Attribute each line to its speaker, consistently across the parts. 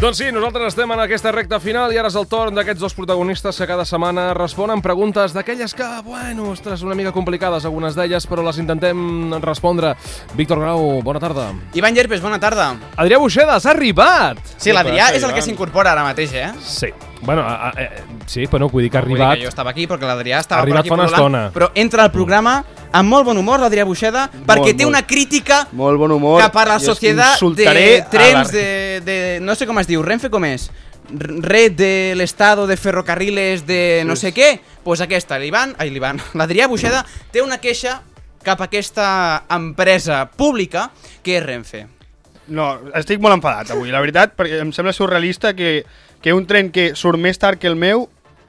Speaker 1: Doncs sí, nosaltres estem en aquesta recta final i ara és el torn d'aquests dos protagonistes que cada setmana responen preguntes d'aquelles que, bueno, ostres, una mica complicades algunes d'elles, però les intentem respondre. Víctor Grau, bona tarda.
Speaker 2: Ivan Llerpes, bona tarda.
Speaker 1: Adrià Buixeda, s'ha arribat!
Speaker 2: Sí, l'Adrià
Speaker 3: passa,
Speaker 2: és el que
Speaker 3: Ivan?
Speaker 2: s'incorpora ara mateix, eh?
Speaker 1: Sí. Bueno, a, a, eh, sí, però no, vull dir que ha
Speaker 2: Vull dir
Speaker 1: arribat...
Speaker 2: Que jo estava aquí perquè l'Adrià estava
Speaker 1: Arribat fa
Speaker 2: per aquí
Speaker 1: una
Speaker 2: pululant,
Speaker 1: estona.
Speaker 2: Però entra al programa amb molt bon humor l'Adrià Buixeda perquè té
Speaker 3: molt.
Speaker 2: una crítica
Speaker 3: Molt bon humor.
Speaker 2: cap a la
Speaker 3: Jo
Speaker 2: societat de
Speaker 3: insultaré a la-
Speaker 2: trens de, de... No sé com es diu, Renfe com és? R- Red de l'Estado de Ferrocarriles de no sé què. Pues aquesta, l'Ivan... Ai, l'Ivan. L'Adrià Buixeda té una queixa cap a aquesta empresa pública que és Renfe.
Speaker 4: No, estic molt enfadat avui, la veritat, perquè em sembla surrealista que, que un tren que surt més tard que el meu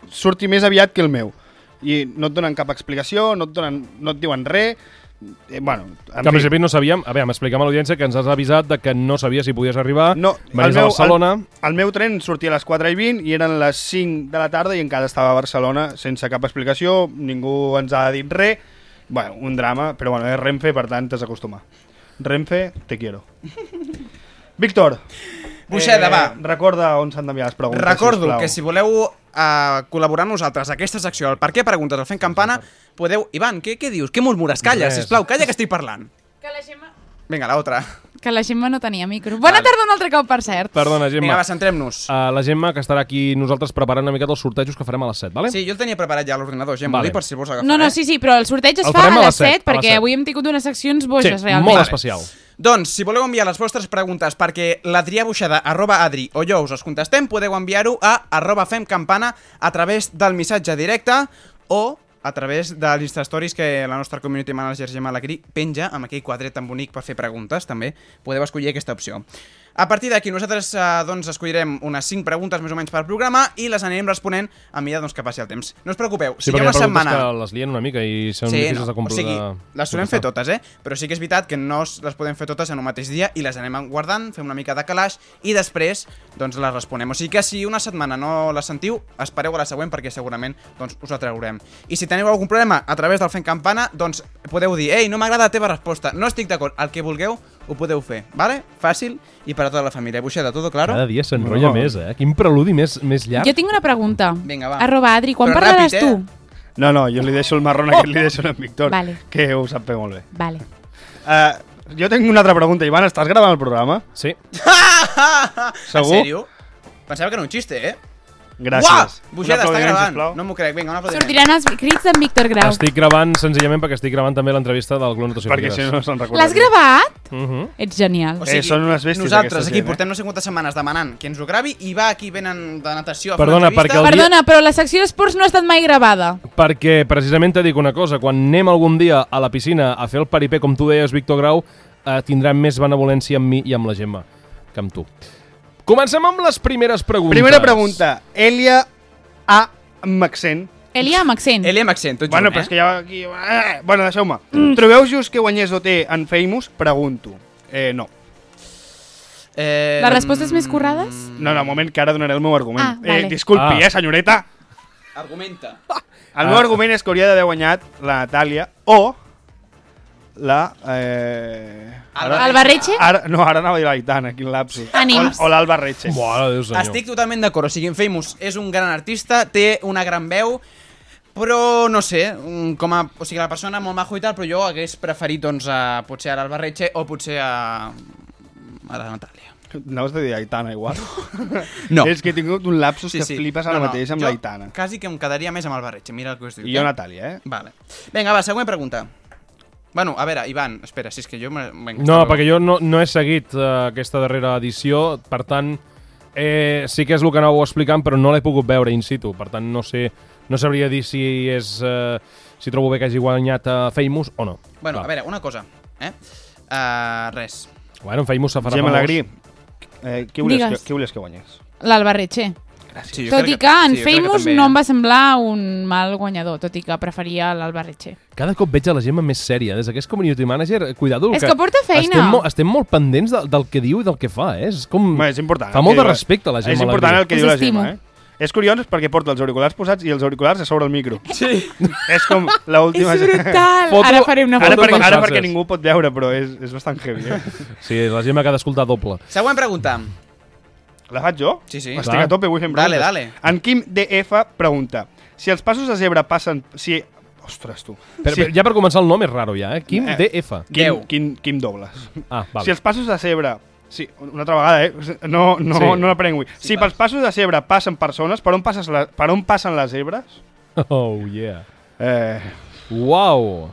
Speaker 4: surti més aviat que el meu. I no et donen cap explicació, no et, donen, no et diuen res... Eh, bueno, en
Speaker 1: Que en
Speaker 4: fi.
Speaker 1: principi no sabíem... A veure, m'expliquem a l'audiència que ens has avisat de que no sabies si podies arribar.
Speaker 4: No,
Speaker 1: Venies a Barcelona.
Speaker 4: El, el meu tren sortia a les 4 i 20 i eren les 5 de la tarda i encara estava a Barcelona sense cap explicació, ningú ens ha dit res. Bueno, un drama, però bueno, és Renfe, per tant, t'has d'acostumar. Renfe, te quiero. Víctor.
Speaker 3: Eh,
Speaker 4: eh,
Speaker 2: Buixeda, va.
Speaker 4: Recorda on s'han d'enviar les preguntes,
Speaker 2: Recordo
Speaker 4: sisplau.
Speaker 2: que si voleu eh, col·laborar amb nosaltres a aquesta secció, el per què preguntes el fent campana, podeu... Ivan, què, què dius? Què murmures? Calla,
Speaker 1: Res.
Speaker 2: sisplau, calla que estic parlant.
Speaker 5: Que la Gemma...
Speaker 2: Vinga, l'altra.
Speaker 5: Que la Gemma no tenia micro. Bona
Speaker 2: Vale.
Speaker 5: tarda un altre cop, per cert.
Speaker 1: Perdona, Gemma.
Speaker 2: Vinga, va, centrem-nos.
Speaker 1: Uh, la Gemma, que estarà aquí nosaltres preparant una mica els sortejos que farem a les 7, vale?
Speaker 2: Sí, jo el tenia preparat ja a l'ordinador, Gemma,
Speaker 1: Vale.
Speaker 2: vale. per si vols agafar.
Speaker 5: No, no,
Speaker 2: eh?
Speaker 5: sí, sí, però el sorteig
Speaker 1: El
Speaker 5: es fa a
Speaker 1: farem
Speaker 5: les 7,
Speaker 1: a les
Speaker 5: perquè
Speaker 1: set.
Speaker 5: avui hem tingut unes seccions boixes,
Speaker 1: sí
Speaker 5: realment.
Speaker 1: molt especial.
Speaker 2: Doncs, si voleu enviar les vostres preguntes perquè l'Adrià Buixada, arroba Adri, o jo us els contestem, podeu enviar-ho a arroba femcampana a través del missatge directe o a través de l'Instastories que la nostra community manager Gemma Alegrí penja amb aquell quadret tan bonic per fer preguntes, també podeu escollir aquesta opció. A partir d'aquí nosaltres eh, doncs, escollirem unes 5 preguntes més o menys per programa i les anirem responent a mesura doncs, que passi el temps. No us preocupeu,
Speaker 1: Sí,
Speaker 2: si hi ha
Speaker 1: perquè hi ha
Speaker 2: una
Speaker 1: preguntes
Speaker 2: setmana...
Speaker 1: que les lien una mica i són
Speaker 2: Sí,
Speaker 1: difícils
Speaker 2: no.
Speaker 1: de
Speaker 2: o
Speaker 1: complir.
Speaker 2: sigui,
Speaker 1: de-
Speaker 2: les solem
Speaker 1: de
Speaker 2: fer
Speaker 1: contestar.
Speaker 2: totes, eh? Però sí que és veritat que no es- les podem fer totes en un mateix dia i les anem guardant, fem una mica de calaix i després doncs, les responem. O sigui que si una setmana no les sentiu, espereu a la següent perquè segurament doncs, us la traurem. I si teniu algun problema a través del Fent Campana, doncs podeu dir «Ei, no m'agrada la teva resposta, no estic d'acord, el que vulgueu ho podeu fer, vale? Fàcil i per a tota la família. Buixeda, todo claro?
Speaker 1: Cada dia s'enrotlla
Speaker 4: No.
Speaker 1: més, eh? Quin preludi més, més llarg.
Speaker 5: Jo tinc una pregunta.
Speaker 2: Vinga, va.
Speaker 5: Arroba Adri, quan
Speaker 2: Però
Speaker 5: parlaràs
Speaker 2: ràpid, eh?
Speaker 5: tu?
Speaker 4: No, no, jo li deixo el marrón aquest, li deixo a en Víctor,
Speaker 5: Vale.
Speaker 4: que ho sap fer molt bé.
Speaker 5: Vale.
Speaker 4: Uh, jo tinc una altra pregunta, Ivan, estàs gravant el programa?
Speaker 1: Sí.
Speaker 4: Segur?
Speaker 2: En sèrio? Pensava que era un xiste, eh?
Speaker 4: Gràcies.
Speaker 2: Uah! Buixeda,
Speaker 4: Un
Speaker 2: està
Speaker 4: aplaudiment,
Speaker 2: gravant.
Speaker 4: sisplau.
Speaker 2: No m'ho crec. Vinga, un aplaudiment.
Speaker 5: Sortiran els crits d'en Víctor Grau.
Speaker 1: Estic gravant senzillament perquè estic gravant també l'entrevista del Club Natació
Speaker 4: Perquè si no se'n recorda.
Speaker 5: L'has gravat?
Speaker 1: Uh -huh.
Speaker 5: Ets genial.
Speaker 2: O
Speaker 4: Eh, són unes bèsties,
Speaker 2: Nosaltres
Speaker 4: aquesta
Speaker 2: aquí
Speaker 4: gent, eh?
Speaker 2: portem no sé quantes setmanes demanant que ens ho gravi i va aquí venen de natació a
Speaker 1: Perdona,
Speaker 2: fer una
Speaker 1: perquè el dia-
Speaker 5: Perdona, però la secció d'esports no ha estat mai gravada.
Speaker 1: Perquè precisament te dic una cosa, quan anem algun dia a la piscina a fer el paripé, com tu deies, Víctor Grau, eh, tindran més benevolència amb mi i amb la Gemma que amb tu. Comencem amb les primeres preguntes.
Speaker 4: Primera pregunta. Elia A. amb accent.
Speaker 5: Elia amb accent.
Speaker 2: Eli amb accent, tot
Speaker 4: Bueno,
Speaker 2: junt,
Speaker 4: però és que
Speaker 2: eh?
Speaker 4: ja aquí... Eh, bueno, deixeu-me.
Speaker 5: Mm.
Speaker 4: Trobeu just que guanyés OT en Famous? Pregunto. Eh, no.
Speaker 2: Eh, mm,
Speaker 5: Les respostes més currades?
Speaker 4: No, no, un moment, que ara donaré el meu argument.
Speaker 5: Ah, vale.
Speaker 4: eh, disculpi,
Speaker 1: Ah.
Speaker 4: eh, senyoreta.
Speaker 2: Argumenta.
Speaker 1: Ah.
Speaker 4: El meu argument és que hauria d'haver guanyat la Natàlia o la... Eh... Ara,
Speaker 5: El barretxe?
Speaker 4: ara, no, ara anava a dir la Aitana, quin lapsus.
Speaker 5: Ànims.
Speaker 4: O, o l'Alba Retxe.
Speaker 1: Mare de Déu, senyor.
Speaker 2: Estic totalment d'acord, o sigui, en Famous és un gran artista, té una gran veu, però no sé, mm, com a, o sigui, la persona molt majo i tal, però jo hagués preferit, doncs, a, potser a l'Albarretxe o potser a, a la Natàlia.
Speaker 4: Anaves a dir Aitana, igual.
Speaker 2: No.
Speaker 4: És que he tingut un lapsus que flipes ara
Speaker 2: No, no,
Speaker 4: mateix amb
Speaker 2: jo
Speaker 4: la Aitana.
Speaker 2: Quasi que em quedaria més amb el barretxe, mira el que us dic.
Speaker 4: I jo
Speaker 2: eh?
Speaker 4: Natàlia, eh?
Speaker 2: Vale. Vinga, va, següent pregunta. Bueno, a veure, Ivan, espera, si és que jo... me- Vinga,
Speaker 1: No, perquè jo no, no he seguit eh, aquesta darrera edició, per tant, eh, sí que és el que anàveu explicant, però no l'he pogut veure in situ, per tant, no sé, no sabria dir si és... Eh, si trobo bé que hagi guanyat a Famous o no.
Speaker 2: Bueno,
Speaker 1: Va.
Speaker 2: a veure, una cosa, eh? Uh, res.
Speaker 1: Bueno, en Famous se farà
Speaker 4: Gemma
Speaker 1: famós.
Speaker 4: Alegrí, eh, què, volies que,
Speaker 5: Digues.
Speaker 4: què volies que guanyés?
Speaker 5: L'Albarretxe.
Speaker 2: Sí, jo
Speaker 5: Tot
Speaker 2: crec
Speaker 5: i que en
Speaker 2: sí, jo crec que
Speaker 5: Famous
Speaker 2: també,
Speaker 5: no em
Speaker 2: eh?
Speaker 5: va semblar un mal guanyador, tot i que preferia l'Albarretxe.
Speaker 1: Cada cop veig a la Gemma més sèria, des que és community manager, cuidado.
Speaker 5: És que porta feina.
Speaker 1: Estem, mo estem molt pendents de, del que diu i del que fa, eh? És com...
Speaker 4: Bé, és important.
Speaker 1: Fa
Speaker 4: el
Speaker 1: molt
Speaker 4: que
Speaker 1: de
Speaker 4: diu-
Speaker 1: respecte a la Gemma
Speaker 4: És important
Speaker 1: Alegrí.
Speaker 4: el que
Speaker 5: Us
Speaker 4: diu la
Speaker 5: estimo.
Speaker 4: Gemma, eh? És curiós perquè porta els auriculars posats i els auriculars a sobre el micro. Sí. és com l'última...
Speaker 1: Foto-
Speaker 5: Ara faré una
Speaker 4: Ara,
Speaker 1: Foto
Speaker 5: foto.
Speaker 4: perquè,
Speaker 1: per
Speaker 4: ara
Speaker 1: xarxes.
Speaker 4: perquè ningú pot veure, però és, és bastant heavy. Eh?
Speaker 1: Sí, la Gemma que ha d'escoltar doble.
Speaker 2: Següent pregunta.
Speaker 4: La faig jo?
Speaker 2: Sí, sí.
Speaker 4: Estic
Speaker 1: Va.
Speaker 4: a tope, vull fer
Speaker 2: Dale,
Speaker 4: preguntes.
Speaker 2: dale.
Speaker 4: En Quim DF pregunta, si els passos de zebra passen... Si... Ostres, tu.
Speaker 1: Però,
Speaker 4: si...
Speaker 1: però ja per començar el nom és raro ja, eh? Quim
Speaker 4: Eh.
Speaker 1: DF.
Speaker 4: Quim,
Speaker 2: Déu.
Speaker 4: Quim, Quim Dobles.
Speaker 1: Ah, vale.
Speaker 4: Si els passos de zebra... Sí, una altra vegada, eh? No, no,
Speaker 1: Sí.
Speaker 4: sí. no l'aprenc avui. Sí, si pels passos de zebra passen persones, per on, passes la, per on passen les zebres?
Speaker 1: Oh, yeah.
Speaker 4: Eh,
Speaker 1: Uau!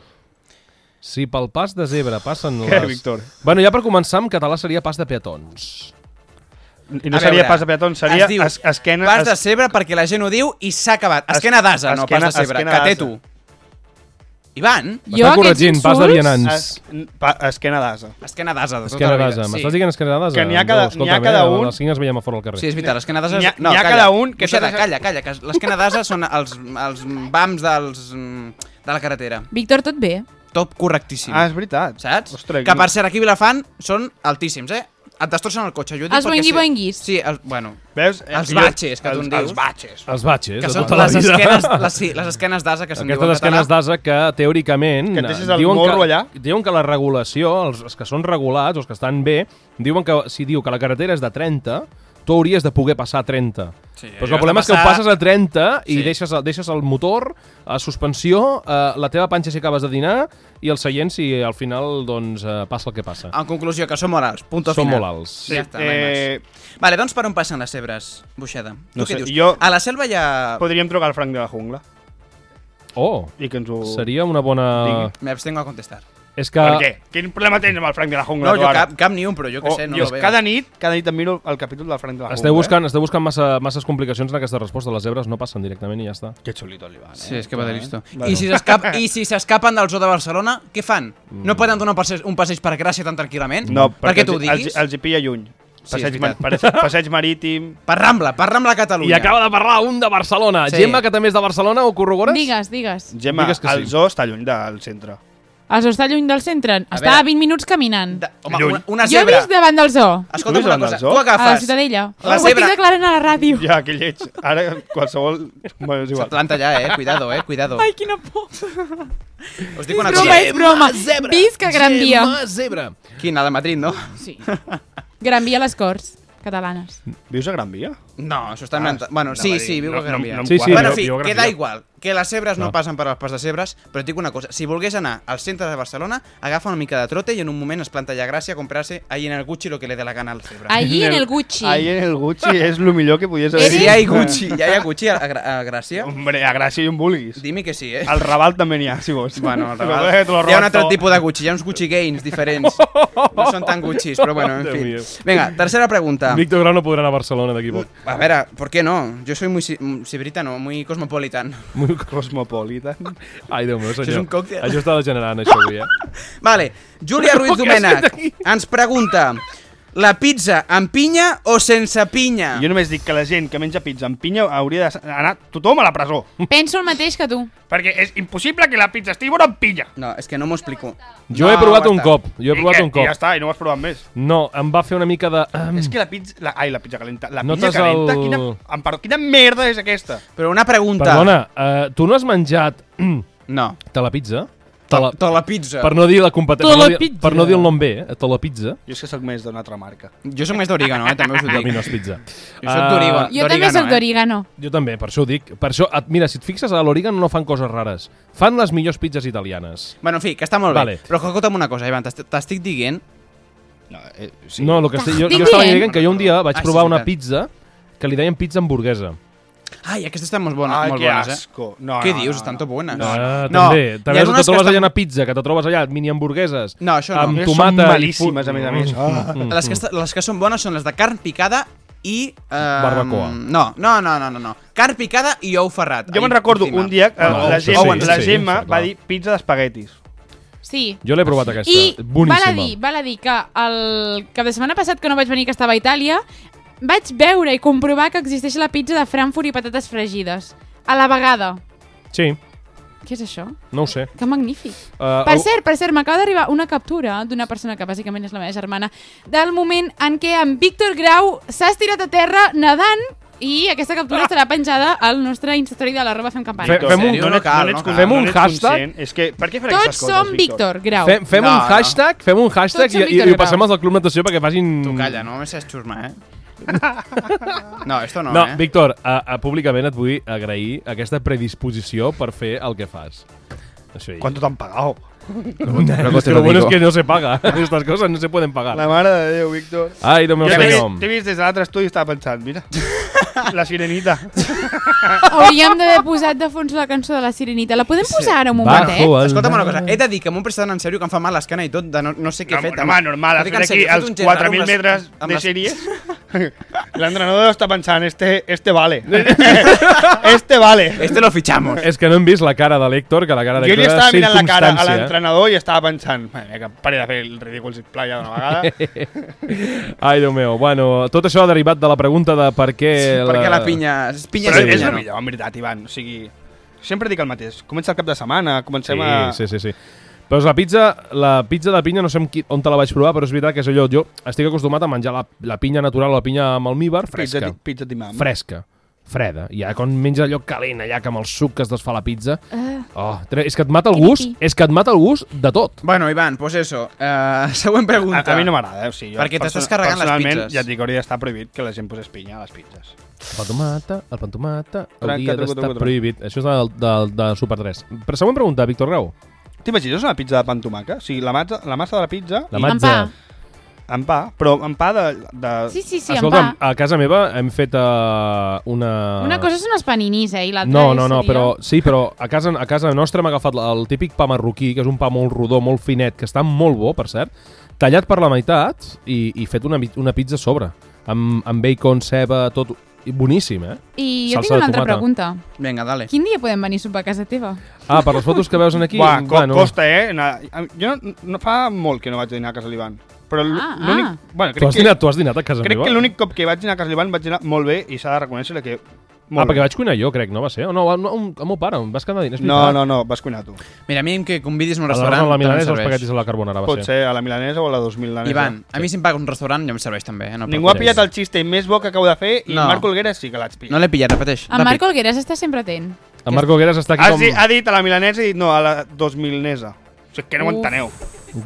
Speaker 1: Si pel pas de zebra passen les...
Speaker 4: Què, Víctor?
Speaker 1: Bueno, ja per començar, en català seria pas de peatons.
Speaker 4: I no
Speaker 2: A
Speaker 4: seria
Speaker 2: veure,
Speaker 4: pas de peatons, seria
Speaker 2: es diu
Speaker 4: es, esquena...
Speaker 2: Pas de
Speaker 4: es,
Speaker 2: cebre perquè la gent ho diu i s'ha acabat.
Speaker 4: Es-
Speaker 2: Esquena d'asa, no
Speaker 4: esquena-
Speaker 2: pas de cebre.
Speaker 4: esquena
Speaker 2: Que té
Speaker 4: d'ase.
Speaker 2: tu. Ivan,
Speaker 5: Jo
Speaker 1: M'està
Speaker 5: aquests
Speaker 1: corregint, pas de
Speaker 5: insults-
Speaker 1: vianants.
Speaker 4: es, pa, esquena d'asa.
Speaker 2: esquena d'asa de tota
Speaker 1: Esquerra
Speaker 2: la vida.
Speaker 1: d'asa. M'estàs dient esquerra d'asa?
Speaker 4: Que n'hi ha cada-
Speaker 1: no,
Speaker 4: n'hi ha cada
Speaker 1: eh,
Speaker 4: un-
Speaker 1: A les 5 ens veiem a fora al carrer.
Speaker 2: Sí, és veritat, l'esquena d'asa... és-
Speaker 4: N'hi ha-
Speaker 2: no,
Speaker 4: n'hi ha
Speaker 2: calla.
Speaker 4: cada un que
Speaker 2: Buixeda,
Speaker 4: s'ha de-
Speaker 2: calla, calla, que l'esquena d'asa són els, els bams dels, mm, de la carretera.
Speaker 5: Víctor, tot bé?
Speaker 2: Top correctíssim.
Speaker 4: Ah, és veritat.
Speaker 2: saps?
Speaker 4: Ostres,
Speaker 2: que
Speaker 4: no.
Speaker 2: per cert, aquí a Vilafant són altíssims, eh? Et destrossen el cotxe, jo ho dic
Speaker 5: Els
Speaker 2: perquè
Speaker 5: boingui
Speaker 2: sí.
Speaker 5: boinguis.
Speaker 2: Sí, el, bueno,
Speaker 4: Veus?
Speaker 2: els batxes, que tu en
Speaker 4: els-
Speaker 2: dius.
Speaker 4: Els batxes.
Speaker 1: Eh, Els batxes,
Speaker 2: que
Speaker 1: de
Speaker 2: són
Speaker 1: tota la
Speaker 2: les
Speaker 1: vida.
Speaker 2: esquenes, les, sí, les esquenes d'asa que se'n diu
Speaker 1: Aquestes
Speaker 2: en català.
Speaker 1: esquenes d'asa que, teòricament...
Speaker 4: Que et deixes el
Speaker 1: diuen
Speaker 4: morro
Speaker 1: que,
Speaker 4: allà.
Speaker 1: Diuen que la regulació, els, els que són regulats, els que estan bé, diuen que si diu que la carretera és de 30, tu hauries de poder passar a 30.
Speaker 2: Sí,
Speaker 1: Però és que
Speaker 2: has de
Speaker 1: el problema és que ho
Speaker 2: passar-
Speaker 1: passes a 30 i
Speaker 2: Sí.
Speaker 1: deixes, el- deixes el motor, a suspensió, eh, la teva panxa si acabes de dinar i el seient si al final doncs, eh, passa el que passa.
Speaker 2: En conclusió, que són molt alts, punto
Speaker 1: Són
Speaker 2: Ah, final.
Speaker 1: molt alts.
Speaker 2: Ja està, no hi ha
Speaker 4: eh,
Speaker 2: més. Vale, doncs per on passen les cebres, Buixeda? Tu
Speaker 4: No
Speaker 2: què
Speaker 4: sé,
Speaker 2: dius?
Speaker 4: jo-
Speaker 2: A la selva hi ha...
Speaker 4: podríem trucar al Frank de la Jungla
Speaker 1: Oh,
Speaker 4: i que ens ho...
Speaker 1: seria una bona...
Speaker 4: Digui.
Speaker 2: M'abstengo a contestar.
Speaker 1: És que...
Speaker 4: Per què? Quin problema tens amb el Frank de la Jungla?
Speaker 2: No,
Speaker 4: tu,
Speaker 2: jo
Speaker 4: ara?
Speaker 2: cap, cap ni un, però jo que
Speaker 4: Oh,
Speaker 2: sé, no
Speaker 4: jo
Speaker 2: lo veo.
Speaker 4: cada nit, cada nit em miro el capítol del Frank de la Jungla. eh?
Speaker 1: Esteu buscant, esteu buscant massa, masses complicacions en aquesta resposta. Les zebres no passen directament i ja està.
Speaker 4: Eh? Que xulito el Ivan, eh?
Speaker 2: Sí, és que va de listo.
Speaker 4: Bueno.
Speaker 2: I si s'escap- I si s'escapen del zoo de Barcelona, què fan? No poden donar un passeig, un passeig per Gràcia tan tranquil·lament?
Speaker 4: Mm. No,
Speaker 2: perquè
Speaker 4: perquè
Speaker 2: tu ho
Speaker 4: els,
Speaker 2: diguis?
Speaker 4: els, els hi pilla lluny. Passeig,
Speaker 2: és
Speaker 4: ma-
Speaker 2: veritat.
Speaker 4: passeig, passeig marítim...
Speaker 2: Per Rambla, per Rambla Catalunya.
Speaker 1: I acaba de parlar un de Barcelona.
Speaker 2: Sí.
Speaker 1: Sí. Gemma, que també és de Barcelona, ho corrobores?
Speaker 5: Digues, digues.
Speaker 4: Gemma,
Speaker 1: Digues que
Speaker 4: el
Speaker 1: sí.
Speaker 4: zoo està lluny del centre.
Speaker 5: El zoo està lluny del centre. Està
Speaker 2: veure.
Speaker 5: a 20 minuts caminant.
Speaker 2: De, home,
Speaker 4: Lluny.
Speaker 2: una, una
Speaker 5: Jo he
Speaker 2: zebra.
Speaker 5: vist davant del zoo.
Speaker 2: Escolta'm
Speaker 4: Tu has
Speaker 2: una
Speaker 4: vist
Speaker 2: cosa,
Speaker 4: el zoo?
Speaker 2: tu
Speaker 5: A la
Speaker 2: agafes...
Speaker 5: Ciutadella.
Speaker 2: La
Speaker 5: Ho estic
Speaker 2: zebra-
Speaker 5: declarant a la ràdio.
Speaker 4: Ja, que lleig. Ara qualsevol... Bueno, és igual.
Speaker 2: S'atlanta allà, eh? Cuidado, eh? Cuidado.
Speaker 5: Ai, quina por.
Speaker 2: Us dic una
Speaker 5: És broma,
Speaker 2: cosa.
Speaker 5: és broma. Visca Gran Via.
Speaker 1: Gemma, zebra.
Speaker 2: Quina, de Madrid, no?
Speaker 4: Ah.
Speaker 5: Sí. Gran Via a les Corts catalanes.
Speaker 4: Vius a Gran Via?
Speaker 2: No, això està
Speaker 4: Ah,
Speaker 2: inventat. Bueno,
Speaker 4: anava
Speaker 2: sí,
Speaker 4: a dir,
Speaker 2: sí, viu
Speaker 4: no-
Speaker 2: a Gran
Speaker 4: no-
Speaker 2: Via.
Speaker 4: no em
Speaker 1: Sí, sí,
Speaker 4: quadra.
Speaker 2: Bueno, en
Speaker 1: jo-
Speaker 2: fi,
Speaker 1: jo Gran
Speaker 2: queda
Speaker 1: Via.
Speaker 2: igual, que les zebres no.
Speaker 1: No.
Speaker 2: passen per les pas de zebres, però et dic una cosa, si volgués anar al centre de Barcelona, agafa una mica de trote i en un moment es planta allà a Gràcia a comprar-se ahí en el Gucci lo que le dé la gana al cebre.
Speaker 5: Allí en el Gucci.
Speaker 4: Ahí en el Gucci és el millor que podies haver
Speaker 2: Si
Speaker 4: dit.
Speaker 2: hi ha Gucci, ja hi ha Gucci a, a, Gra- a Gràcia?
Speaker 4: Hombre, a Gràcia i on vulguis.
Speaker 2: Dime que sí, eh?
Speaker 4: Al Raval també n'hi ha, si vols.
Speaker 2: Bueno, el
Speaker 4: Però, eh, te lo
Speaker 2: Raval. Hi ha
Speaker 4: robat
Speaker 2: un altre
Speaker 4: tot.
Speaker 2: tipus de Gucci, hi ha uns Gucci Gains diferents. No són tan Guccis, però bueno, en
Speaker 1: Déu
Speaker 2: fi.
Speaker 1: mío.
Speaker 2: Vinga, tercera pregunta.
Speaker 1: Ah. Víctor Grau no podrà anar a Barcelona d'aquí a poc.
Speaker 2: A ver, ¿por qué no? Yo soy muy ci- mm, cibritano, muy cosmopolitano.
Speaker 4: Cosmopolitan.
Speaker 1: Ai, Déu meu, senyor.
Speaker 2: és un còctel.
Speaker 1: Això està degenerant, això, avui, eh?
Speaker 2: Vale, Júlia Ruiz
Speaker 1: què has fet
Speaker 2: Domènech ens pregunta la pizza amb pinya o sense pinya?
Speaker 4: Jo només dic que la gent que menja pizza amb pinya hauria d'anar tothom a la presó.
Speaker 5: Penso el mateix que tu.
Speaker 4: Perquè és impossible que la pizza estigui bona amb pinya.
Speaker 2: No, és que no m'ho explico.
Speaker 1: Jo
Speaker 2: No,
Speaker 1: he provat un
Speaker 2: aguanta.
Speaker 1: cop. Jo he
Speaker 4: I
Speaker 1: provat
Speaker 4: què?
Speaker 1: un
Speaker 4: I ja
Speaker 1: cop.
Speaker 4: està, i no ho has provat més.
Speaker 1: No, em va fer una mica de... ehm,
Speaker 4: És que la pizza... La, ai, la pizza calenta. La
Speaker 1: Notes
Speaker 4: pinya calenta,
Speaker 1: el-
Speaker 4: quina, em perdó, quina merda és aquesta?
Speaker 2: Però una pregunta.
Speaker 1: Perdona, eh, tu no has menjat ehm,
Speaker 2: No.
Speaker 1: te la pizza? Te la...
Speaker 2: Tota la pizza.
Speaker 1: Per no dir la competència, per, no dir,
Speaker 5: Telepizza.
Speaker 1: per no dir el nom bé, eh? te la pizza.
Speaker 4: Jo és que sóc més d'una altra marca.
Speaker 2: Jo soc més d'origano, eh? també us ho
Speaker 1: A mi
Speaker 2: dic.
Speaker 1: no és pizza.
Speaker 2: Jo soc d'origo.
Speaker 1: Ah,
Speaker 5: Jo també
Speaker 2: D'origano,
Speaker 5: sóc
Speaker 2: eh?
Speaker 5: d'origano.
Speaker 1: Jo també, per això ho dic. Per això, et- mira, si et fixes, a l'Origan no fan coses rares. Fan les millors pizzas italianes.
Speaker 2: Bueno, en fi, que està molt
Speaker 1: Vale.
Speaker 2: bé. Però escolta'm una cosa, Ivan, t'est- t'estic dient...
Speaker 4: No, eh, sí.
Speaker 1: Sí. No, lo que estic, jo,
Speaker 5: Estic
Speaker 1: jo estava
Speaker 5: dient.
Speaker 1: dient que jo un dia vaig
Speaker 2: Ah, sí,
Speaker 1: provar
Speaker 2: és
Speaker 1: una
Speaker 2: veritat.
Speaker 1: pizza que li deien pizza hamburguesa.
Speaker 2: Ai, aquestes estan molt bones,
Speaker 4: Ai,
Speaker 2: molt
Speaker 4: Ah, que
Speaker 2: bones, eh?
Speaker 4: asco. No,
Speaker 2: Què
Speaker 4: no,
Speaker 2: dius?
Speaker 4: no,
Speaker 2: Estan
Speaker 4: no.
Speaker 2: tot bones.
Speaker 1: No, ah,
Speaker 2: No,
Speaker 1: també.
Speaker 2: hi
Speaker 1: També
Speaker 2: ha unes
Speaker 1: te
Speaker 2: que
Speaker 1: trobes
Speaker 2: estan-
Speaker 1: allà una pizza, que te trobes allà mini hamburgueses.
Speaker 2: No, això no.
Speaker 1: Amb
Speaker 4: Aquestes són
Speaker 1: tomata
Speaker 4: malíssimes,
Speaker 1: i...
Speaker 4: a més a més. Ah.
Speaker 1: Mm.
Speaker 2: Mm-hmm. Les que, esta- les que són bones són les de carn picada i... Eh,
Speaker 1: Barbacoa.
Speaker 2: No, no, no, no, no, no. Carn picada i ou ferrat.
Speaker 4: Jo
Speaker 2: Ai,
Speaker 4: me'n recordo
Speaker 2: encima.
Speaker 4: un dia que
Speaker 1: Ah,
Speaker 4: la,
Speaker 1: Mm. sí,
Speaker 4: Gemma,
Speaker 1: sí,
Speaker 4: la
Speaker 1: sí,
Speaker 4: Gemma
Speaker 1: sí,
Speaker 4: va
Speaker 1: clar.
Speaker 4: dir pizza d'espaguetis.
Speaker 5: Sí.
Speaker 1: Jo l'he provat aquesta.
Speaker 5: I val
Speaker 1: Boníssima.
Speaker 5: a dir, val a dir que el cap de setmana passat que no vaig venir, que estava a Itàlia, vaig veure i comprovar que existeix la pizza de Frankfurt i patates fregides. A la vegada.
Speaker 1: Sí,
Speaker 5: Què és això?
Speaker 1: no ho sé.
Speaker 5: Que magnífic.
Speaker 1: Uh,
Speaker 5: Per cert, per cert, m'acaba d'arribar una captura d'una persona que bàsicament és la meva germana, del moment en què en Víctor Grau s'ha estirat a terra nedant i aquesta captura estarà penjada al nostre Instastory de l'arroba fem campana.
Speaker 1: Fe-
Speaker 4: Víctor,
Speaker 1: Ah. fem un-
Speaker 4: en sèrio?
Speaker 2: no cal,
Speaker 4: n'ets
Speaker 2: no
Speaker 4: con-
Speaker 1: cal. Fem un
Speaker 4: n'ets
Speaker 1: hashtag?
Speaker 4: conscient? És que, per què faré
Speaker 5: Tots
Speaker 4: aquestes coses,
Speaker 5: som Víctor Grau.
Speaker 1: Fem, fem
Speaker 2: No,
Speaker 1: un
Speaker 2: no.
Speaker 1: hashtag, fem un hashtag
Speaker 5: Tots som
Speaker 1: i, i,
Speaker 5: Víctor
Speaker 1: ho passem
Speaker 5: Grau.
Speaker 1: als del Club Natació perquè facin...
Speaker 2: Tu calla, no me saps xurmar, eh? No, esto no,
Speaker 1: No,
Speaker 2: eh?
Speaker 1: Víctor, a, a, públicament et vull agrair aquesta predisposició per fer el que fas. Això hi.
Speaker 4: ¿Cuánto te han pagado?
Speaker 1: Es que lo, bueno es que no se paga. Estas cosas no se pueden pagar.
Speaker 4: La mare de Déu, Víctor.
Speaker 1: Ai, no me'l
Speaker 4: Jo t'he vist-
Speaker 1: senyor.
Speaker 4: t'he vist des de l'altre estudi i estava pensant, mira, la sirenita.
Speaker 5: Hauríem d'haver posat de fons la cançó de la Sirenita. La podem posar ara un momentet?
Speaker 1: Bajo el-
Speaker 2: Escolta'm una cosa, he de dir que m'ho he prestat en sèrio, que em fa mal l'escana i tot, de no, no sé què
Speaker 4: No,
Speaker 2: he fet.
Speaker 4: home, normal,
Speaker 2: M'ho
Speaker 4: has
Speaker 2: dic
Speaker 4: fet
Speaker 2: en
Speaker 4: aquí
Speaker 2: sèrio, he fet
Speaker 4: els
Speaker 2: un gest raro
Speaker 4: 4.000
Speaker 2: amb les-
Speaker 4: metres
Speaker 2: amb
Speaker 4: de
Speaker 2: les-
Speaker 4: sèries. L'entrenador està pensant, este, este vale. este vale.
Speaker 2: Este lo fichamos.
Speaker 1: És que no hem vist la cara de l'Héctor, que la cara
Speaker 4: Jo
Speaker 1: d'Héctor
Speaker 4: li
Speaker 1: era
Speaker 4: estava mirant la cara a
Speaker 1: circumstància. eh?
Speaker 4: l'entrenador i estava pensant, "Madre mía, que pari de fer el ridícul, sisplau, ja d'una vegada.
Speaker 1: Ai, Déu meu. Bueno, tot això ha derivat de la pregunta de per què...
Speaker 2: Perquè la pinya... és- Pinya
Speaker 4: Però
Speaker 2: és
Speaker 1: Sí,
Speaker 2: de
Speaker 4: és
Speaker 2: pinya,
Speaker 4: el
Speaker 2: no?
Speaker 4: millor, en veritat, Ivan. O sigui, sempre dic el mateix. Comença el cap de setmana, comencem
Speaker 1: Sí,
Speaker 4: a...
Speaker 1: sí, sí, sí. Però és la pizza, la pizza de pinya, no sé amb qui, on te la vaig provar, però és veritat que és allò, jo estic acostumat a menjar la, la pinya natural o la pinya amb almíbar
Speaker 4: Pizza,
Speaker 1: fresca.
Speaker 4: ti- pizza d'imam.
Speaker 1: Fresca. Freda. I ara quan menges allò calent allà que amb el suc que es desfà la pizza,
Speaker 5: Ah.
Speaker 1: oh, tre- és que et mata el gust, és que et mata el gust de tot.
Speaker 2: Bueno, Ivan, pues eso. Uh, següent
Speaker 4: A,
Speaker 2: pregunta.
Speaker 4: a mi no m'agrada, eh? o sigui, jo
Speaker 2: Perquè t'estàs
Speaker 4: perso-
Speaker 2: carregant les
Speaker 4: personalment,
Speaker 2: pizzas.
Speaker 4: ja et dic, hauria d'estar prohibit que la gent posés pinya a les pizzas.
Speaker 1: El pa tomata, el pa tomata,
Speaker 4: Tranca,
Speaker 1: hauria
Speaker 4: truca,
Speaker 1: d'estar
Speaker 4: truca, truca.
Speaker 1: prohibit. Això és del, del, de Super 3. Però següent pregunta, Víctor Grau.
Speaker 4: T'imagines una pizza de pa amb tomàquet? O sigui, la massa, la massa de la pizza
Speaker 1: La
Speaker 4: i
Speaker 1: matza.
Speaker 5: Amb pa.
Speaker 4: amb pa, però amb pa de... de...
Speaker 5: Sí, sí, sí, amb
Speaker 1: Escolta'm,
Speaker 5: pa.
Speaker 1: a casa meva hem fet uh, una...
Speaker 5: Una cosa són els paninis, eh? I l'altra
Speaker 1: No,
Speaker 5: és,
Speaker 1: no, no,
Speaker 5: seria-
Speaker 1: però sí, però a casa, a casa nostra hem agafat el típic pa marroquí, que és un pa molt rodó, molt finet, que està molt bo, per cert, tallat per la meitat i, i fet una, mi- una pizza a sobre, amb, amb bacon, ceba, tot... I boníssim, eh?
Speaker 5: I
Speaker 1: Salsa
Speaker 5: jo tinc
Speaker 1: de
Speaker 5: una altra
Speaker 1: tomata.
Speaker 5: pregunta.
Speaker 2: Vinga, dale.
Speaker 5: Quin dia podem venir a sopar a casa teva?
Speaker 1: Ah, per les fotos que veus en aquí...
Speaker 4: Buah, co costa, eh? Anar... Jo no, no fa molt que no vaig dinar a casa l'Ivan. Però l-
Speaker 5: Ah,
Speaker 4: l'únic...
Speaker 5: ah.
Speaker 4: Bueno,
Speaker 1: Tu
Speaker 4: crec
Speaker 1: has,
Speaker 4: que,
Speaker 1: dinat, tu has dinat a casa
Speaker 4: crec
Speaker 1: meva?
Speaker 4: que l'únic cop que vaig dinar a casa l'Ivan vaig dinar molt bé i s'ha de reconèixer que... Molt
Speaker 1: Ah, perquè
Speaker 4: bé.
Speaker 1: vaig cuinar jo, crec, no va ser? O no, va- no un, el meu pare, em vas quedar dins.
Speaker 4: No, no, no, vas cuinar tu.
Speaker 2: Mira, a mi que convidis a un
Speaker 1: A la,
Speaker 2: restaurant
Speaker 1: la
Speaker 2: també em
Speaker 1: milanesa, els
Speaker 2: serveix.
Speaker 1: paquetis a la carbonara, va
Speaker 4: Pot ser a la milanesa o a la 2000 danesa.
Speaker 2: Ivan, a mi si em paga un restaurant ja em serveix també. Eh? No,
Speaker 4: Ningú ha
Speaker 2: preocupis.
Speaker 4: pillat el xiste més bo que acabo de fer i
Speaker 2: No.
Speaker 4: Marc Olguera sí que l'has pillat.
Speaker 2: No l'he pillat, repeteix.
Speaker 5: En
Speaker 2: Ràpid.
Speaker 5: Marc Olgueras està sempre atent.
Speaker 1: En Marc Gueras està aquí
Speaker 4: Has
Speaker 1: com...
Speaker 4: dit, Ah, ha dit a la milanesa i no, a la 2000nesa. O sigui, que no ho
Speaker 5: Uf.
Speaker 4: enteneu.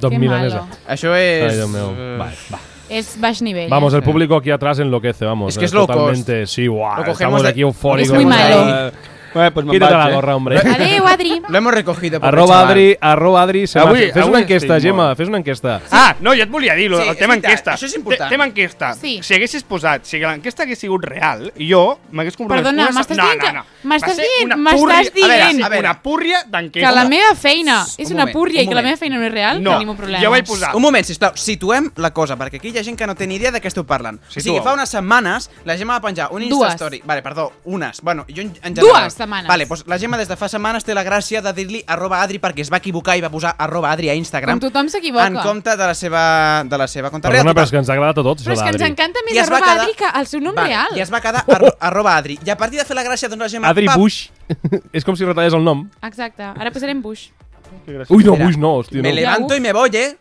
Speaker 1: Dos
Speaker 5: Que
Speaker 1: milanesa.
Speaker 5: malo.
Speaker 2: Això és...
Speaker 1: Ai, Déu meu.
Speaker 2: eh,
Speaker 1: Vale, va.
Speaker 5: És baix nivell.
Speaker 1: Vamos,
Speaker 5: eh?
Speaker 1: el público aquí atrás enloquece, vamos.
Speaker 2: Es que
Speaker 1: eh,
Speaker 2: es low cost.
Speaker 1: Totalmente, sí, guau.
Speaker 2: Lo
Speaker 1: Estamos
Speaker 2: cogemos de-
Speaker 1: aquí eufóricos.
Speaker 5: Es muy malo.
Speaker 1: Eh,
Speaker 4: Bé, doncs me'n
Speaker 1: Quítate
Speaker 4: vaig,
Speaker 1: la
Speaker 4: eh?
Speaker 1: gorra, hombre.
Speaker 5: Adéu, Adri.
Speaker 2: Lo hemos recogido. pobre
Speaker 1: arroba
Speaker 2: chaval.
Speaker 1: Adri, arroba Adri. se m'ha
Speaker 4: Avui-
Speaker 1: fet- fes una
Speaker 4: avui
Speaker 1: enquesta,
Speaker 4: estic
Speaker 1: Gemma,
Speaker 4: molt.
Speaker 1: fes una enquesta.
Speaker 4: Ah, no, ja et volia dir, lo,
Speaker 2: Sí,
Speaker 4: el
Speaker 2: és
Speaker 4: tema
Speaker 2: veritat,
Speaker 4: enquesta.
Speaker 2: això és important.
Speaker 4: Te- Tema enquesta.
Speaker 5: Sí.
Speaker 4: Si haguessis posat, si l'enquesta hagués sigut real, jo m'hagués compromès...
Speaker 5: Perdona,
Speaker 4: una se-
Speaker 5: m'estàs
Speaker 4: no,
Speaker 5: dient que-
Speaker 4: no, no.
Speaker 5: m'estàs
Speaker 4: Va ser
Speaker 5: dient,
Speaker 4: una
Speaker 5: m'estàs
Speaker 4: púrria- a veure,
Speaker 2: dient.
Speaker 4: a veure, Una púrria d'enquesta.
Speaker 5: Que la meva feina és
Speaker 2: Un
Speaker 5: una
Speaker 2: moment,
Speaker 5: púrria
Speaker 2: un
Speaker 5: i que la
Speaker 2: moment.
Speaker 5: meva feina no és real,
Speaker 4: No,
Speaker 5: tenim un problema.
Speaker 4: jo vaig posar...
Speaker 2: Un moment, sisplau, situem la cosa, perquè aquí hi ha gent que no té ni idea de què esteu parlant. O sigui,
Speaker 4: Situeu.
Speaker 2: fa unes setmanes la Gemma va penjar un
Speaker 5: Dues.
Speaker 2: Instastory. Vale, perdó, unes. Bueno, jo en en general...
Speaker 5: Dues setmanes.
Speaker 2: Vale, doncs la Gemma des de fa setmanes té la gràcia de dir-li arroba Adri perquè es va equivocar i va posar arroba Adri a Instagram.
Speaker 5: Com tothom s'equivoca.
Speaker 2: En compte de la seva, de la seva compte
Speaker 1: Perdona,
Speaker 2: real.
Speaker 1: però és que ens ha agradat a tots,
Speaker 5: Però
Speaker 1: això
Speaker 5: és que ens
Speaker 1: d'Adri.
Speaker 5: encanta més
Speaker 2: I es va
Speaker 5: arroba
Speaker 2: quedar-
Speaker 5: Adri que el seu nom
Speaker 2: Vale,
Speaker 5: real.
Speaker 2: I es va quedar arro arroba Adri. I a partir de fer la gràcia, doncs la Gemma...
Speaker 1: Adri
Speaker 2: pap,
Speaker 1: Bush. és com si retallés el nom.
Speaker 5: Exacte, ara posarem Bush.
Speaker 1: Ui, no,
Speaker 2: Espera.
Speaker 1: Bush no, hòstia,
Speaker 2: Me
Speaker 1: no.
Speaker 2: levanto
Speaker 5: Ja,
Speaker 2: i me voy, eh?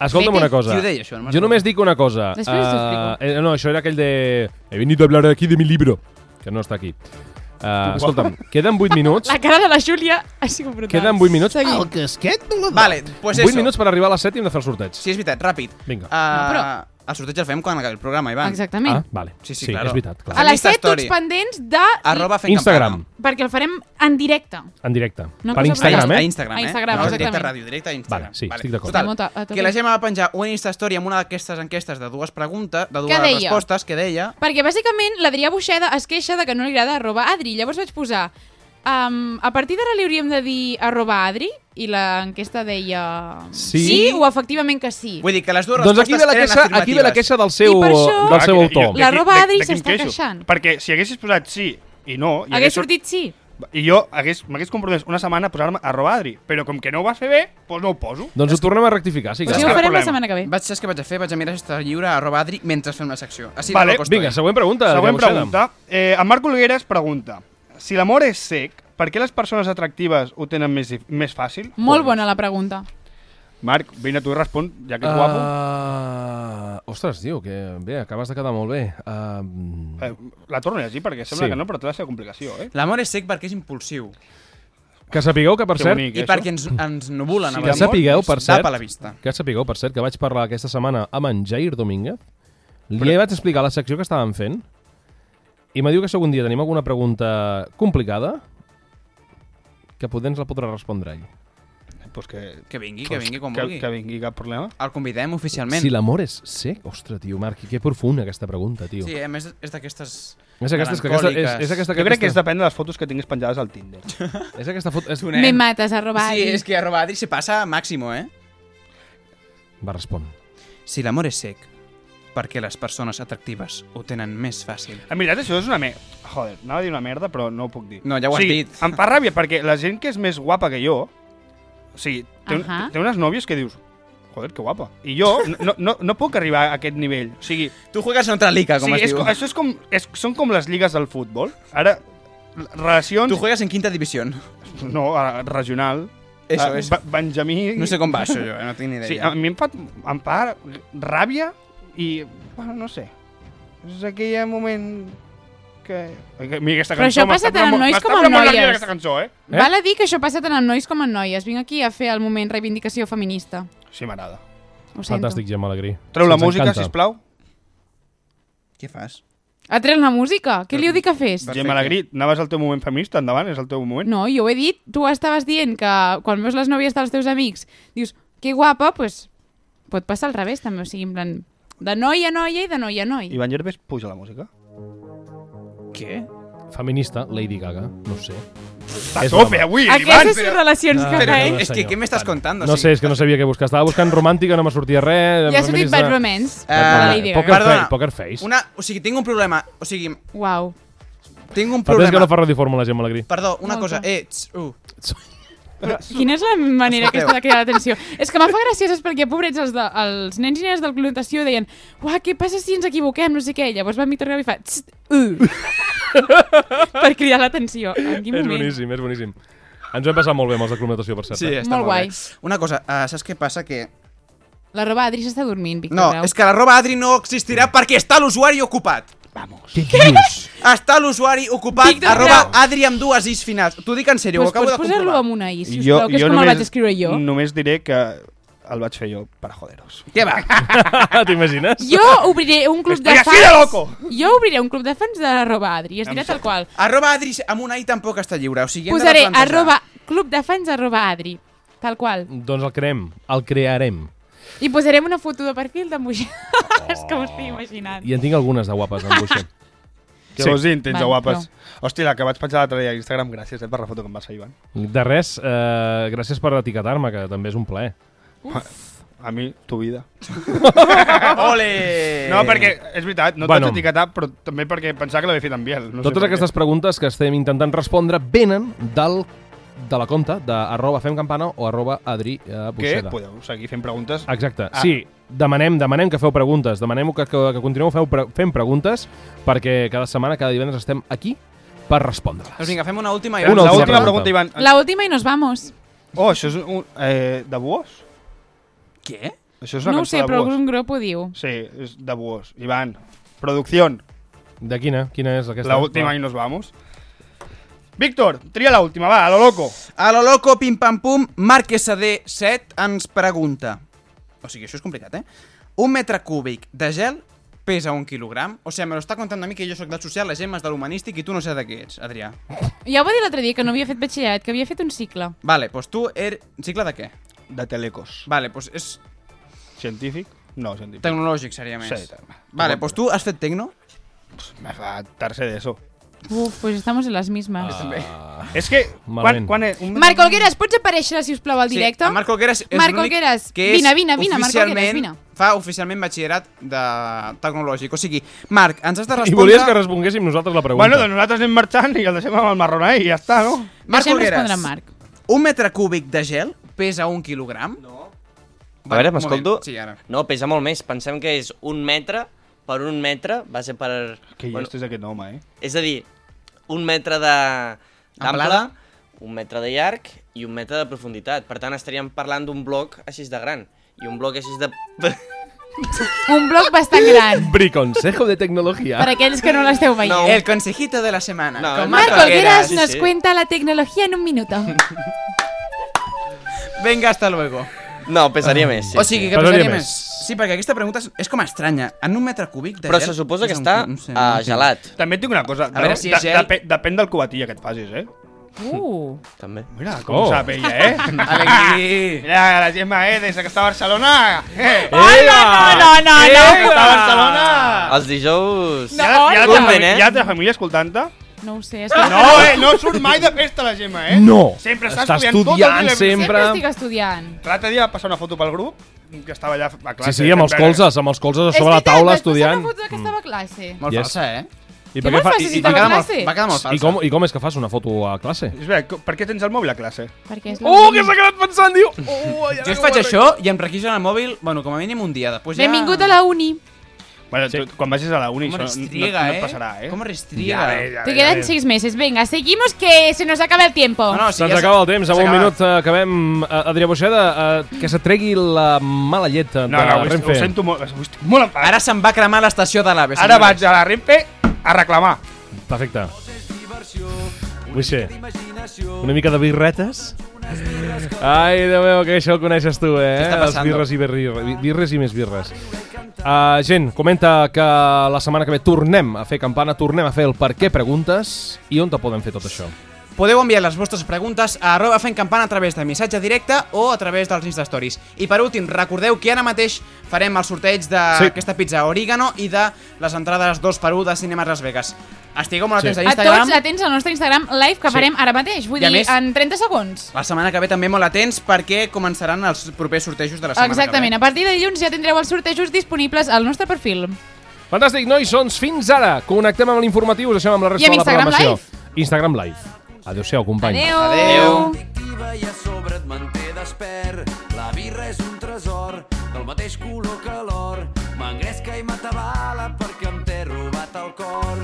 Speaker 1: Escolta'm
Speaker 5: Vete.
Speaker 1: una cosa.
Speaker 2: Qui ho deia, això? No me'n
Speaker 1: Jo només dic una cosa.
Speaker 5: Després us ho
Speaker 1: Eh, eh, no, això era aquell de... He venido a hablar aquí de mi libro. Que no està aquí. Uh, escolta'm, queden 8 minuts.
Speaker 5: La cara de la Júlia ha sigut brutal.
Speaker 1: Queden 8 minuts.
Speaker 5: Seguim.
Speaker 3: El casquet no l'ha donat.
Speaker 2: Vale, Ah, pues
Speaker 1: 8
Speaker 2: eso.
Speaker 1: minuts per arribar a les 7 i hem de fer el sorteig.
Speaker 2: Sí, és veritat, ràpid.
Speaker 1: Vinga.
Speaker 2: Uh,
Speaker 5: però-
Speaker 2: El sorteig el fem quan acabi el programa, Ivan.
Speaker 5: Exactament.
Speaker 1: Ah, vale.
Speaker 2: Sí, sí,
Speaker 1: sí
Speaker 2: claro.
Speaker 1: és veritat.
Speaker 5: A
Speaker 1: Clar.
Speaker 5: les
Speaker 2: Insta
Speaker 5: 7 tots
Speaker 2: Story.
Speaker 5: pendents de...
Speaker 2: Arroba fent
Speaker 1: Instagram,
Speaker 2: campana.
Speaker 5: Perquè el farem en directe.
Speaker 1: en directe.
Speaker 5: Una
Speaker 1: per
Speaker 5: cosa
Speaker 1: Instagram,
Speaker 5: per
Speaker 2: A
Speaker 1: eh?
Speaker 2: Instagram,
Speaker 5: A
Speaker 2: eh?
Speaker 5: Instagram,
Speaker 2: no, directe a
Speaker 5: exactament.
Speaker 2: ràdio, directe a Instagram.
Speaker 1: Vale, sí, estic d'acord.
Speaker 5: Estem a to- a
Speaker 2: Total,
Speaker 5: tope.
Speaker 2: que la Gemma va penjar una Instastory amb una d'aquestes enquestes de dues preguntes, de dues
Speaker 5: Què deia?
Speaker 2: respostes que deia...
Speaker 5: Perquè, bàsicament, l'Adrià Buixeda es queixa de que no li agrada arroba Adri. Llavors vaig posar... Um, a partir d'ara li hauríem de dir arroba Adri i l'enquesta deia...
Speaker 1: Sí.
Speaker 5: sí o efectivament que sí.
Speaker 2: Vull dir que les dues
Speaker 1: Doncs aquí
Speaker 2: respostes
Speaker 1: ve la
Speaker 2: eren
Speaker 1: queixa, aquí ve la
Speaker 2: afirmatives.
Speaker 1: queixa del seu,
Speaker 5: I per això-
Speaker 1: del seu
Speaker 4: Ah, que-
Speaker 1: autor.
Speaker 4: jo-
Speaker 5: L'arroba
Speaker 4: de- de-
Speaker 5: Adri
Speaker 4: de qui em
Speaker 5: s'està
Speaker 4: queixo?
Speaker 5: queixant.
Speaker 4: Perquè si haguessis posat sí i no... i
Speaker 5: Hagués
Speaker 4: sor-
Speaker 5: sortit sí.
Speaker 4: I jo hagués, m'hagués compromès una setmana a posar-me arroba Adri, però com que no ho vas fer bé, doncs no ho poso.
Speaker 1: Doncs ho tornem a rectificar, sí
Speaker 5: Però
Speaker 1: que...
Speaker 4: Però és
Speaker 5: si ho
Speaker 4: que-
Speaker 5: farem la
Speaker 4: problema.
Speaker 5: setmana que ve.
Speaker 2: Vaig, saps què vaig a fer? Vaig a mirar si està lliure arroba Adri mentre fem una secció. Així de
Speaker 4: Vale,
Speaker 2: loco estoy.
Speaker 1: Vinga, següent pregunta.
Speaker 4: Següent
Speaker 1: Adrià Buixeda.
Speaker 4: pregunta. Eh, en Marc Olgueres pregunta si l'amor és sec, per què les persones atractives ho tenen més, dif- més fàcil?
Speaker 5: Molt bona la pregunta.
Speaker 4: Marc, vine tu i respon, ja que ets uh... guapo.
Speaker 1: Ah. Uh, ostres, tio, que bé, acabes de quedar molt bé. Uh,
Speaker 4: Eh, la torno a llegir perquè sembla
Speaker 1: Sí.
Speaker 4: sí. que no, però té la seva complicació, eh?
Speaker 2: L'amor és sec perquè és impulsiu.
Speaker 1: que sapigueu que, per
Speaker 4: Que
Speaker 1: cert,
Speaker 4: bonic,
Speaker 2: I
Speaker 4: això.
Speaker 2: perquè ens, ens nubulen.
Speaker 4: Sí,
Speaker 2: amb
Speaker 1: que
Speaker 2: l'amor,
Speaker 1: sapigueu, per
Speaker 2: ens tapa
Speaker 1: cert,
Speaker 2: la vista.
Speaker 1: que sapigueu, per cert, que vaig parlar aquesta setmana amb en Jair Domínguez, Li Però... vaig explicar la secció que estàvem fent i me diu que segon dia tenim alguna pregunta complicada que potser ens la podrà respondre ell.
Speaker 4: Pues que,
Speaker 2: Que vingui, que vingui quan
Speaker 4: que,
Speaker 2: vulgui.
Speaker 4: que vingui, cap problema.
Speaker 2: El convidem eh, oficialment.
Speaker 1: Si l'amor és sec? Ostres, tio, Marc, que profunda aquesta pregunta, tio.
Speaker 2: Sí, a més és d'aquestes...
Speaker 1: És aquesta, és, que aquesta, és,
Speaker 2: melancòliques.
Speaker 1: és aquesta,
Speaker 4: Jo crec que és
Speaker 1: aquesta,
Speaker 4: depèn de les fotos que tinguis penjades al Tinder.
Speaker 1: és aquesta foto... És...
Speaker 2: Donem.
Speaker 5: Me mates, arroba
Speaker 2: Eh. Sí, és que arroba Adri se passa a màximo, eh?
Speaker 1: Va, respon.
Speaker 2: Si l'amor és sec, per què les persones atractives ho tenen més fàcil?
Speaker 4: En veritat, Eh, això és una merda. Joder, anava a dir una merda, però no ho puc dir.
Speaker 2: No, ja ho
Speaker 4: o
Speaker 2: has
Speaker 4: sigui,
Speaker 2: dit.
Speaker 4: Em fa ràbia, perquè la gent que és més guapa que jo... O sigui, té, un,
Speaker 5: Ahà.
Speaker 4: té unes nòvies que dius... Joder, que guapa. I jo no, no, no puc arribar a aquest nivell. O sigui,
Speaker 2: Tu juegas en otra liga, com
Speaker 4: o sigui
Speaker 2: es
Speaker 4: és,
Speaker 2: diu.
Speaker 4: com- això és com, és, són com les lligues del futbol. Ara, relacions...
Speaker 2: Tu juegas en quinta divisió.
Speaker 4: No, a regional.
Speaker 2: Eso,
Speaker 4: A-
Speaker 2: eso.
Speaker 4: Ba- Benjamí...
Speaker 2: No sé com va això, jo, eh? no tinc ni idea.
Speaker 4: Ah, Sí, a mi em fa, em fa ràbia i... Bueno, no sé. És aquell moment que... que mira, aquesta
Speaker 5: Però
Speaker 4: cançó
Speaker 5: això passa
Speaker 4: m'està
Speaker 5: tant amb
Speaker 4: premol-
Speaker 5: nois
Speaker 4: m'està
Speaker 5: com amb
Speaker 4: premolant la vida,
Speaker 5: noies.
Speaker 4: Aquesta cançó, eh?
Speaker 1: Eh?
Speaker 5: Val a dir que això passa tant en nois com en noies. Vinc aquí a fer el moment reivindicació feminista.
Speaker 4: Sí, m'agrada.
Speaker 5: Ho sento.
Speaker 1: Fantàstic, Gemma Alegrí.
Speaker 4: Treu la
Speaker 1: Ens
Speaker 4: música,
Speaker 1: encanta.
Speaker 4: sisplau.
Speaker 2: Què fas?
Speaker 5: Ha tret la música? Què li heu dit que fes?
Speaker 2: Perfecte.
Speaker 4: Gemma Alegrí, anaves al teu moment feminista, endavant, és el teu moment.
Speaker 5: No, jo ho he dit. Tu estaves dient que quan veus les nòvies dels teus amics dius que guapa, doncs pues, pot passar al revés també. O sigui, en plan, de noi a noia i de noi a noi.
Speaker 4: Ivan Gervés, puja la música.
Speaker 2: Què?
Speaker 1: Feminista, Lady Gaga, no ho sé.
Speaker 4: Està a
Speaker 1: És
Speaker 4: tope
Speaker 1: broma.
Speaker 4: avui, Ivan!
Speaker 5: Aquestes són relacions que
Speaker 1: però-
Speaker 5: fa
Speaker 1: no,
Speaker 5: ell.
Speaker 2: eh, és que
Speaker 1: senyor.
Speaker 2: què m'estàs
Speaker 1: Bueno,
Speaker 2: contant? O
Speaker 1: No
Speaker 2: sigui,
Speaker 1: sé, és que no sabia què buscar. Estava buscant romàntica, no m'ha sortit res.
Speaker 5: Ja s'ha dit
Speaker 1: feminista-
Speaker 5: Bad Romance.
Speaker 2: Eh,
Speaker 5: de
Speaker 1: Ah,
Speaker 5: Lady Gaga.
Speaker 1: Poker,
Speaker 2: Perdona.
Speaker 1: Fa poker Face. Una
Speaker 2: Una, o sigui, tinc un problema. O sigui,
Speaker 5: Uau.
Speaker 2: tinc
Speaker 1: Fa temps que
Speaker 2: un problema.
Speaker 1: no fa radiofórmula, la Gemma Alegrí.
Speaker 2: Perdó, una
Speaker 5: Molta.
Speaker 2: cosa. Eh, tss, uh.
Speaker 5: Quina és la
Speaker 2: Escolteu.
Speaker 5: manera aquesta de cridar l'atenció? És que m'ha fa graciós perquè, pobrets, els, de, els nens i nenes del Club Natació deien «Uah, què passa si ens equivoquem?» No sé què. Llavors va Víctor Grau i fa «Txt, uh!» per cridar l'atenció. En quin
Speaker 1: És
Speaker 5: moment?
Speaker 1: boníssim, és boníssim. Ens ho hem passat molt bé amb els de climatació, per cert.
Speaker 2: Sí,
Speaker 1: eh?
Speaker 2: està
Speaker 5: Molt
Speaker 2: molt,
Speaker 5: guai.
Speaker 2: Bé. Una cosa, uh, saps què passa? Que...
Speaker 5: La roba Adri s'està dormint, Víctor
Speaker 2: No,
Speaker 5: Grau.
Speaker 2: és que la roba Adri no existirà perquè està l'usuari ocupat.
Speaker 1: Què dius?
Speaker 2: Està l'usuari ocupat,
Speaker 5: Víctor
Speaker 2: arroba
Speaker 5: Grau.
Speaker 2: Adri amb dues is finals. T'ho dic en sèrio,
Speaker 5: Pues
Speaker 2: ho acabo
Speaker 5: pots
Speaker 2: de
Speaker 5: posar-lo
Speaker 2: comprovar.
Speaker 5: amb una i, sisplau, que és com el vaig escriure jo.
Speaker 4: Només diré que el vaig fer jo per joderos.
Speaker 2: Què va?
Speaker 1: Ah, T'imagines?
Speaker 5: Jo obriré un club de
Speaker 4: Estoy así
Speaker 5: fans...
Speaker 4: de loco.
Speaker 5: Jo obriré un club de fans de l'arroba Adri, es dirà tal qual.
Speaker 2: Arroba Adri amb una i tampoc està lliure. O sigui, hem de
Speaker 5: Posaré
Speaker 2: replantejar.
Speaker 5: arroba club de fans arroba Adri, tal qual.
Speaker 1: Doncs el creem, el crearem.
Speaker 5: I posarem una foto de perfil d'emboixades oh. que m'ho estic imaginant.
Speaker 1: I en tinc algunes de guapes, amb Buixer.
Speaker 4: Que sí. vos intents,
Speaker 5: Val,
Speaker 4: guapes. Hòstia, la que vaig penjar l'altre dia a Instagram, gràcies eh, per la foto que em vas fer, Ivan.
Speaker 1: De res, eh, gràcies per etiquetar-me, que també és un plaer.
Speaker 4: A mi, tu vida.
Speaker 2: Eh, Ole!
Speaker 4: No, perquè és veritat, no bueno.
Speaker 1: Bueno.
Speaker 4: t'haig etiquetat, però també perquè pensava que l'havia fet amb Biel. No sé
Speaker 1: Totes
Speaker 4: per
Speaker 1: aquestes preguntes que estem intentant respondre venen del de la compta de arroba femcampana o arroba adri eh,
Speaker 4: què. Que
Speaker 1: Buixeda.
Speaker 4: podeu seguir fent preguntes.
Speaker 1: Exacte,
Speaker 4: Ah.
Speaker 1: ah. sí. Demanem, demanem que feu preguntes, demanem que, que, que continueu feu pre fent preguntes perquè cada setmana, cada divendres estem aquí per
Speaker 2: Doncs
Speaker 1: respondre-les.
Speaker 2: vinga, fem una última i
Speaker 4: Una
Speaker 1: última
Speaker 4: la última
Speaker 1: pregunta.
Speaker 4: pregunta, Ivan.
Speaker 5: La última i nos vamos.
Speaker 4: Oh, això és un... Eh, de Buós?
Speaker 2: Què?
Speaker 4: Això és una
Speaker 5: No ho
Speaker 4: cançó
Speaker 5: sé,
Speaker 4: de
Speaker 5: però
Speaker 4: Buós.
Speaker 5: algun grup ho diu.
Speaker 4: Sí, és de Buós. Ivan, producció,
Speaker 1: De quina? Quina és aquesta?
Speaker 4: la última i nos vamos. Víctor, tria la última, va, a lo loco.
Speaker 2: A lo loco, pim pam pum, Marc SD7 ens pregunta. O sigui, això és complicat, eh? Un metre cúbic de gel pesa un quilogram? O sigui, me lo està contant a mi que jo sóc del social, la Gemma és de l'humanístic i tu no sé de què ets, Adrià.
Speaker 5: Ja ho va dir l'altre dia, que no havia fet batxillerat, que havia fet un cicle.
Speaker 2: Vale, doncs tu er... Cicle de què?
Speaker 4: De Telecos.
Speaker 2: Vale, doncs és
Speaker 4: Científic? No, científic.
Speaker 2: tecnològic, seria més.
Speaker 4: Sí, també.
Speaker 2: Vale, doncs tu has fet tecno?
Speaker 4: Me fa tercer d'ESO.
Speaker 5: Uf, pues estamos en les mismes. Ah.
Speaker 1: Ah,
Speaker 4: És que...
Speaker 1: Malament.
Speaker 4: Quan, quan és, un...
Speaker 5: Marc Olgueras, pots aparèixer, si us plau, al directe?
Speaker 2: Sí, Marc Olgueras és
Speaker 5: Marc
Speaker 2: l'únic
Speaker 5: Olgueras,
Speaker 2: que és
Speaker 5: vine, vine, vine, Marc
Speaker 2: oficialment-
Speaker 5: Olgueras, vine.
Speaker 2: Fa oficialment batxillerat de tecnològic. O sigui, Marc, ens has de
Speaker 1: I
Speaker 2: respondre...
Speaker 1: volies que responguéssim nosaltres la pregunta.
Speaker 4: Bueno, doncs nosaltres anem marxant i el deixem amb el marronai i ja està, no?
Speaker 2: Marc
Speaker 5: Deixem
Speaker 2: Olgueras,
Speaker 5: respondre en Marc.
Speaker 2: un metre cúbic de gel pesa un quilogram? No.
Speaker 3: A veure, m'escolto?
Speaker 2: Sí, ara.
Speaker 3: No, pesa molt més. Pensem que és un metre per un metre, va ser per...
Speaker 4: Que
Speaker 3: bueno,
Speaker 4: llest és aquest home, eh?
Speaker 3: és a dir, un metre de- d'ample,
Speaker 2: Amplada.
Speaker 3: un metre de llarg i un metre de profunditat. Per tant, estaríem parlant d'un bloc així de gran. I un bloc així de...
Speaker 5: Un bloc bastant
Speaker 4: doncs-
Speaker 5: gran,
Speaker 1: Briconsejo de tecnologia.
Speaker 5: per aquells que no l'esteu veient.
Speaker 3: No.
Speaker 2: El consejito de la semana.
Speaker 3: No,
Speaker 2: con
Speaker 3: no.
Speaker 2: Marc
Speaker 5: Marc Olgueras
Speaker 3: Sí,
Speaker 5: nos
Speaker 3: sí.
Speaker 5: cuenta la tecnología en un minuto.
Speaker 2: Olgueras. Venga, hasta luego.
Speaker 3: No, pesaria més, sí.
Speaker 2: Ah. o sigui, que
Speaker 1: Pesaria
Speaker 2: pesaria
Speaker 1: més.
Speaker 2: més. Sí, perquè aquesta pregunta és, és com estranya. En un metre cúbic de
Speaker 3: Però
Speaker 2: gel
Speaker 3: se suposa que
Speaker 2: és un
Speaker 3: està
Speaker 2: cu- no sé, no
Speaker 3: a
Speaker 2: entenc.
Speaker 3: gelat,
Speaker 4: També et dic una cosa.
Speaker 2: A veure si és
Speaker 4: de-
Speaker 2: gel.
Speaker 4: depe- depèn del cubatilla que et facis, eh?
Speaker 5: Uh,
Speaker 3: també.
Speaker 4: Mira, com oh.
Speaker 1: Oh.
Speaker 4: sap ella, eh?
Speaker 2: Alegrí!
Speaker 4: Mira, la Gemma, eh? Des que està a Barcelona. Eh?
Speaker 1: Hola,
Speaker 5: no, no,
Speaker 4: eh?
Speaker 5: no.
Speaker 4: Que està a Barcelona.
Speaker 3: Els dijous...
Speaker 4: Hi ha, hi ha,
Speaker 3: No,
Speaker 4: altra,
Speaker 3: on?
Speaker 2: eh?
Speaker 4: famí- hi ha altra família escoltant-te?
Speaker 5: no ho sé, espera.
Speaker 4: No, eh? No surt mai de festa la Gemma, eh?
Speaker 1: No.
Speaker 4: Sempre està,
Speaker 1: Està
Speaker 4: estudiant,
Speaker 1: estudiant
Speaker 4: tot el
Speaker 1: sempre.
Speaker 5: Sempre estic estudiant.
Speaker 4: L'altre dia va passar una foto pel grup que estava allà a
Speaker 1: Sí,
Speaker 4: classe.
Speaker 1: sí, amb els
Speaker 4: sempre-
Speaker 1: colzes, amb els colzes a
Speaker 5: És
Speaker 1: sobre la
Speaker 5: veritat,
Speaker 1: taula
Speaker 5: vaig passar
Speaker 1: estudiant.
Speaker 5: una foto que estava a classe.
Speaker 2: Molt
Speaker 1: Yes.
Speaker 2: falsa, eh?
Speaker 1: I,
Speaker 5: Que
Speaker 1: per què
Speaker 5: molt
Speaker 1: fa-
Speaker 5: fàcil,
Speaker 1: i-
Speaker 5: si
Speaker 1: i-
Speaker 2: Va
Speaker 5: te la
Speaker 2: quedar, molt,
Speaker 5: classe.
Speaker 2: va quedar molt falsa.
Speaker 1: I com, I com és que fas una foto a classe?
Speaker 4: És bé, co- per què tens el mòbil a classe? Oh,
Speaker 5: Perquè és
Speaker 1: Uh, que
Speaker 5: l'únic.
Speaker 1: s'ha quedat pensant, diu!
Speaker 2: Jo es faig això i em requisen el mòbil, bueno, com a mínim un dia. Després ja...
Speaker 5: Benvingut a la uni.
Speaker 4: Bueno, sí. tu, quan vagis a la uni,
Speaker 2: Com
Speaker 4: això no, no,
Speaker 2: restriega,
Speaker 4: no
Speaker 2: eh?
Speaker 4: et passarà, eh?
Speaker 2: Com restriega.
Speaker 5: Te quedan seis meses. Venga, seguimos que se nos acaba el tiempo.
Speaker 2: No, no,
Speaker 1: Se'ns
Speaker 2: si
Speaker 4: Doncs
Speaker 2: ja
Speaker 1: Doncs acaba el temps,
Speaker 2: s'ha
Speaker 1: amb un
Speaker 2: acabat.
Speaker 1: minut eh, acabem. Eh, Adrià Boixeda, eh, que se tregui la mala llet de
Speaker 4: No, no, ho, ho
Speaker 1: Renfe.
Speaker 4: sento molt, ho estic molt enfadat.
Speaker 2: Ara se'n va cremar l'estació de l'AVE.
Speaker 4: Ara
Speaker 2: senyores.
Speaker 4: vaig a la Renfe a reclamar.
Speaker 1: Perfecte. Vull ser. Una mica de birretes. Ai, Déu meu, que això ho coneixes tu, eh?
Speaker 2: està
Speaker 1: Els
Speaker 2: passant?
Speaker 1: birres i birres, birres i més birres. Uh, gent, comenta que la setmana que ve tornem a fer campana, tornem a fer el per què preguntes i on te poden fer tot això.
Speaker 2: Podeu enviar les vostres preguntes a arroba fent campana a través de missatge directe o a través dels Instastories. I per últim, recordeu que ara mateix farem el sorteig
Speaker 1: Sí.
Speaker 2: d'aquesta sí. pizza Origano i de les entrades 2x1 de Cinemes Las Vegas. Estigueu molt
Speaker 1: Sí.
Speaker 2: atents a
Speaker 5: A
Speaker 2: Instagram.
Speaker 5: tots atents al nostre Instagram live que farem ara mateix. Vull
Speaker 2: I a
Speaker 5: dir,
Speaker 2: més-
Speaker 5: en 30 segons.
Speaker 2: La setmana que ve també molt atents perquè començaran els propers sortejos de la setmana
Speaker 5: Exactament.
Speaker 2: que
Speaker 5: A partir de dilluns ja tindreu els sortejos disponibles al nostre perfil.
Speaker 1: Fantàstic, nois, doncs fins ara. Connectem amb l'informatiu, us deixem amb la
Speaker 5: I
Speaker 1: resta
Speaker 5: amb
Speaker 1: de la
Speaker 5: Instagram
Speaker 1: programació. Live. Instagram Live. Adéu-siau, companys.
Speaker 5: Adeu.
Speaker 2: Adeu.
Speaker 6: addictiva i a sobre et manté despert. La birra és un tresor del mateix color que l'or. M'engresca i m'atabala perquè em té robat el cor.